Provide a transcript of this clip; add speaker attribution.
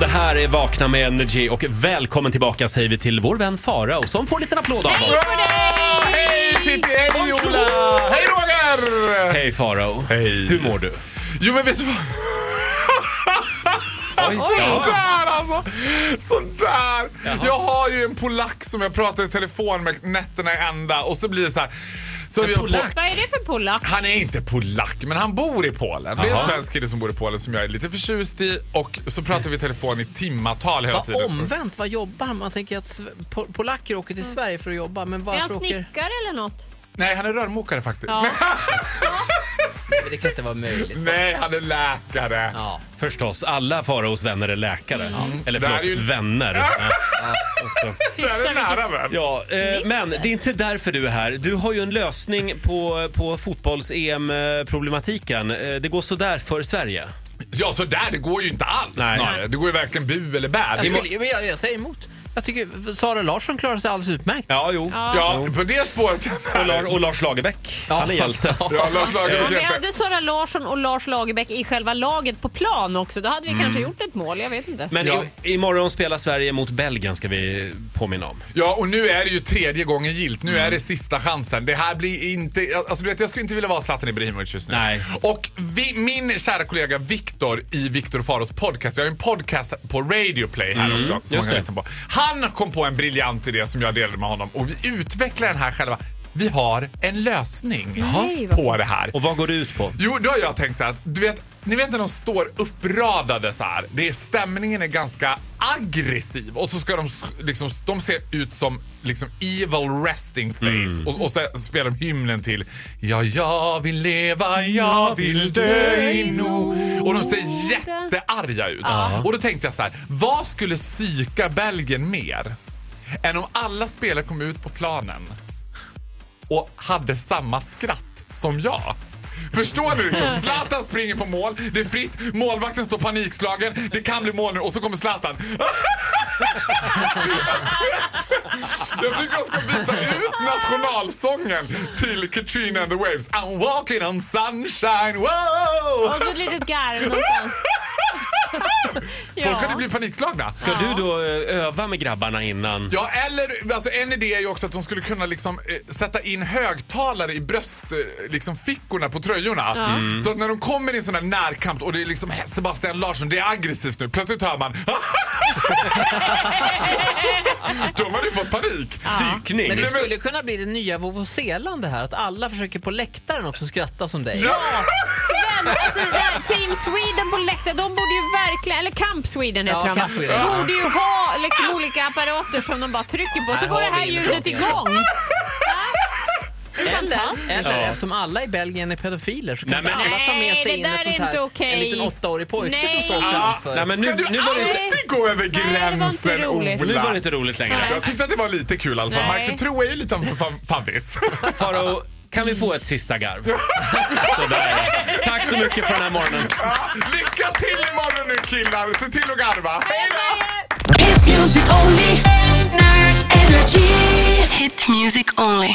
Speaker 1: det här är Vakna med Energy och välkommen tillbaka säger vi till vår vän Farao som får en liten applåd av oss.
Speaker 2: Hej Titti, hej Ola, hej Roger!
Speaker 1: Hej Farao.
Speaker 2: Hej.
Speaker 1: Hur mår du?
Speaker 2: Jo men vet du vad?
Speaker 1: Oj, ja.
Speaker 2: Sådär alltså! Sådär! Jag har ju en polack som jag pratar i telefon med nätterna i ända och så blir det så här. Så vi har på-
Speaker 1: polack?
Speaker 3: Vad är det för polack?
Speaker 2: Han är inte polack, men han bor i Polen. Det är
Speaker 1: Jaha.
Speaker 2: en svensk kille som bor i Polen som jag är lite förtjust i och så pratar vi i telefon i timmatal hela
Speaker 4: Vad
Speaker 2: tiden.
Speaker 4: omvänt, vad jobbar han? Man tänker att sve- po- polacker åker till Sverige för att jobba, men
Speaker 3: Mm. Är han
Speaker 4: varför åker...
Speaker 3: snickare eller något?
Speaker 2: Nej, han är rörmokare faktiskt.
Speaker 3: Ja.
Speaker 4: Men Det kan inte vara möjligt.
Speaker 2: Nej, han är läkare.
Speaker 4: Ja,
Speaker 1: Förstås, alla Faraos vänner är läkare. Eller
Speaker 2: Mm. Det här
Speaker 1: förlåt,
Speaker 2: är ju-
Speaker 1: vänner. Ja. och så.
Speaker 2: Det här är nära vän.
Speaker 1: Ja, eh, men det är inte därför du är här. Du har ju en lösning på, på fotbolls-EM-problematiken. Eh, Det går sådär för Sverige.
Speaker 2: Ja, så där det går ju inte alls
Speaker 1: Nej.
Speaker 2: snarare. Det går ju varken bu eller bä.
Speaker 4: jag,
Speaker 2: Det
Speaker 4: skulle, men jag, jag säger emot. Jag tycker Sara Larsson klarar sig alldeles utmärkt.
Speaker 1: Ja, jo.
Speaker 3: Ja.
Speaker 2: Ja, på det spåret.
Speaker 1: Och, Lar- och Lars Lagerbäck, han är hjälte.
Speaker 2: Ja, Lars
Speaker 3: Om
Speaker 2: Lagerbäck
Speaker 3: vi
Speaker 2: hjälper.
Speaker 3: hade Sara Larsson och Lars Lagerbäck i själva laget på plan också, då hade vi
Speaker 2: Mm.
Speaker 3: kanske gjort ett mål. Jag vet inte.
Speaker 1: Men
Speaker 2: Ja.
Speaker 1: i, imorgon spelar Sverige mot Belgien ska vi påminna om.
Speaker 2: Ja, och nu är det ju tredje gången gilt. Nu är det sista chansen. Det här blir inte... Alltså du vet, jag skulle inte vilja vara Zlatan Ibrahimovic just nu.
Speaker 1: Nej.
Speaker 2: Och vi, min kära kollega Viktor i Viktor och Faros podcast. Jag har en podcast på Radio Play här också. Som
Speaker 1: Mm.
Speaker 2: man
Speaker 1: just
Speaker 2: kan
Speaker 1: det.
Speaker 2: lyssna på. Han kom på en briljant idé som jag delade med honom och vi utvecklar den här själva. Vi har en lösning
Speaker 3: Nej, vad
Speaker 2: på det här.
Speaker 1: Och vad går det ut på?
Speaker 2: Jo, då har jag tänkt så här att du vet, ni vet när de står uppradade så här. Det är, stämningen är ganska aggressiv och så ska de s- liksom, de ser ut som liksom evil resting face och, och sen spelar de hymnen till Ja, jag vill leva, jag vill dö i nord och de ser jättearga ut. Och då tänkte jag så här, vad skulle psyka Belgien mer än om alla spelare kom ut på planen och hade samma skratt som jag. Förstår ni? Liksom? Zlatan springer på mål, det är fritt, målvakten står panikslagen, det kan bli mål nu och så kommer Zlatan. Jag tycker de ska byta ut nationalsången till Katrina and the Waves. I'm walking on sunshine, wow!
Speaker 3: Och så ett litet garv någonstans.
Speaker 2: Folk hade blivit panikslagna.
Speaker 1: Ska du då eh, öva med grabbarna innan?
Speaker 2: Ja, eller alltså en idé är ju också att de skulle kunna liksom, eh, sätta in högtalare i bröstfickorna liksom, fickorna på tröjorna. Så att när de kommer i en sån här närkamp och det är liksom "Hä, Sebastian Larsson, det är aggressivt nu. Plötsligt hör man De hade ju fått panik.
Speaker 1: Psykning?
Speaker 4: Men det
Speaker 2: Nej, men-
Speaker 4: skulle kunna bli det nya Vovozelan det här, att alla försöker på läktaren också skratta som dig.
Speaker 2: Ja.
Speaker 3: Sven, alltså det här Team Sweden på läktaren, de borde ju verkligen, eller Camp Sweden heter
Speaker 4: Ja,
Speaker 3: de va?
Speaker 4: Camp Sweden.
Speaker 3: borde ju ha liksom olika apparater som de bara trycker på, så
Speaker 4: Här
Speaker 3: går
Speaker 4: har
Speaker 3: det här
Speaker 4: vi en
Speaker 3: ljudet
Speaker 4: fråga.
Speaker 3: igång.
Speaker 4: Eller,
Speaker 3: Fantastiskt.
Speaker 4: eller
Speaker 1: Ja.
Speaker 4: eftersom alla i Belgien är pedofiler så kan
Speaker 1: Nej, men-
Speaker 4: inte alla ta med
Speaker 3: Nej,
Speaker 4: sig
Speaker 3: det
Speaker 4: in
Speaker 3: där
Speaker 4: ett
Speaker 3: är
Speaker 4: sånt här,
Speaker 3: inte okej.
Speaker 4: en liten åttaårig pojke som
Speaker 3: Nej.
Speaker 4: står
Speaker 2: Ah,
Speaker 4: framför.
Speaker 1: Nej, men nu,
Speaker 2: Ska du
Speaker 1: nu var det inte...
Speaker 2: alltid gå över
Speaker 3: det var inte
Speaker 2: gränsen,
Speaker 3: roligt.
Speaker 1: Nu var det
Speaker 2: Ola?
Speaker 1: inte roligt längre.
Speaker 3: Nej.
Speaker 2: Jag tyckte att det var lite kul i alla fall.
Speaker 3: Nej.
Speaker 2: Mark Tro är ju lite av en fa- favvis.
Speaker 1: Farao, kan vi få ett sista garv? Sådär. ja. Tack så mycket för den här morgonen.
Speaker 2: Ja, lycka till imorgon nu killar! Se till att garva. Hej då!
Speaker 5: Hit music only. Energy.
Speaker 6: Hit music only.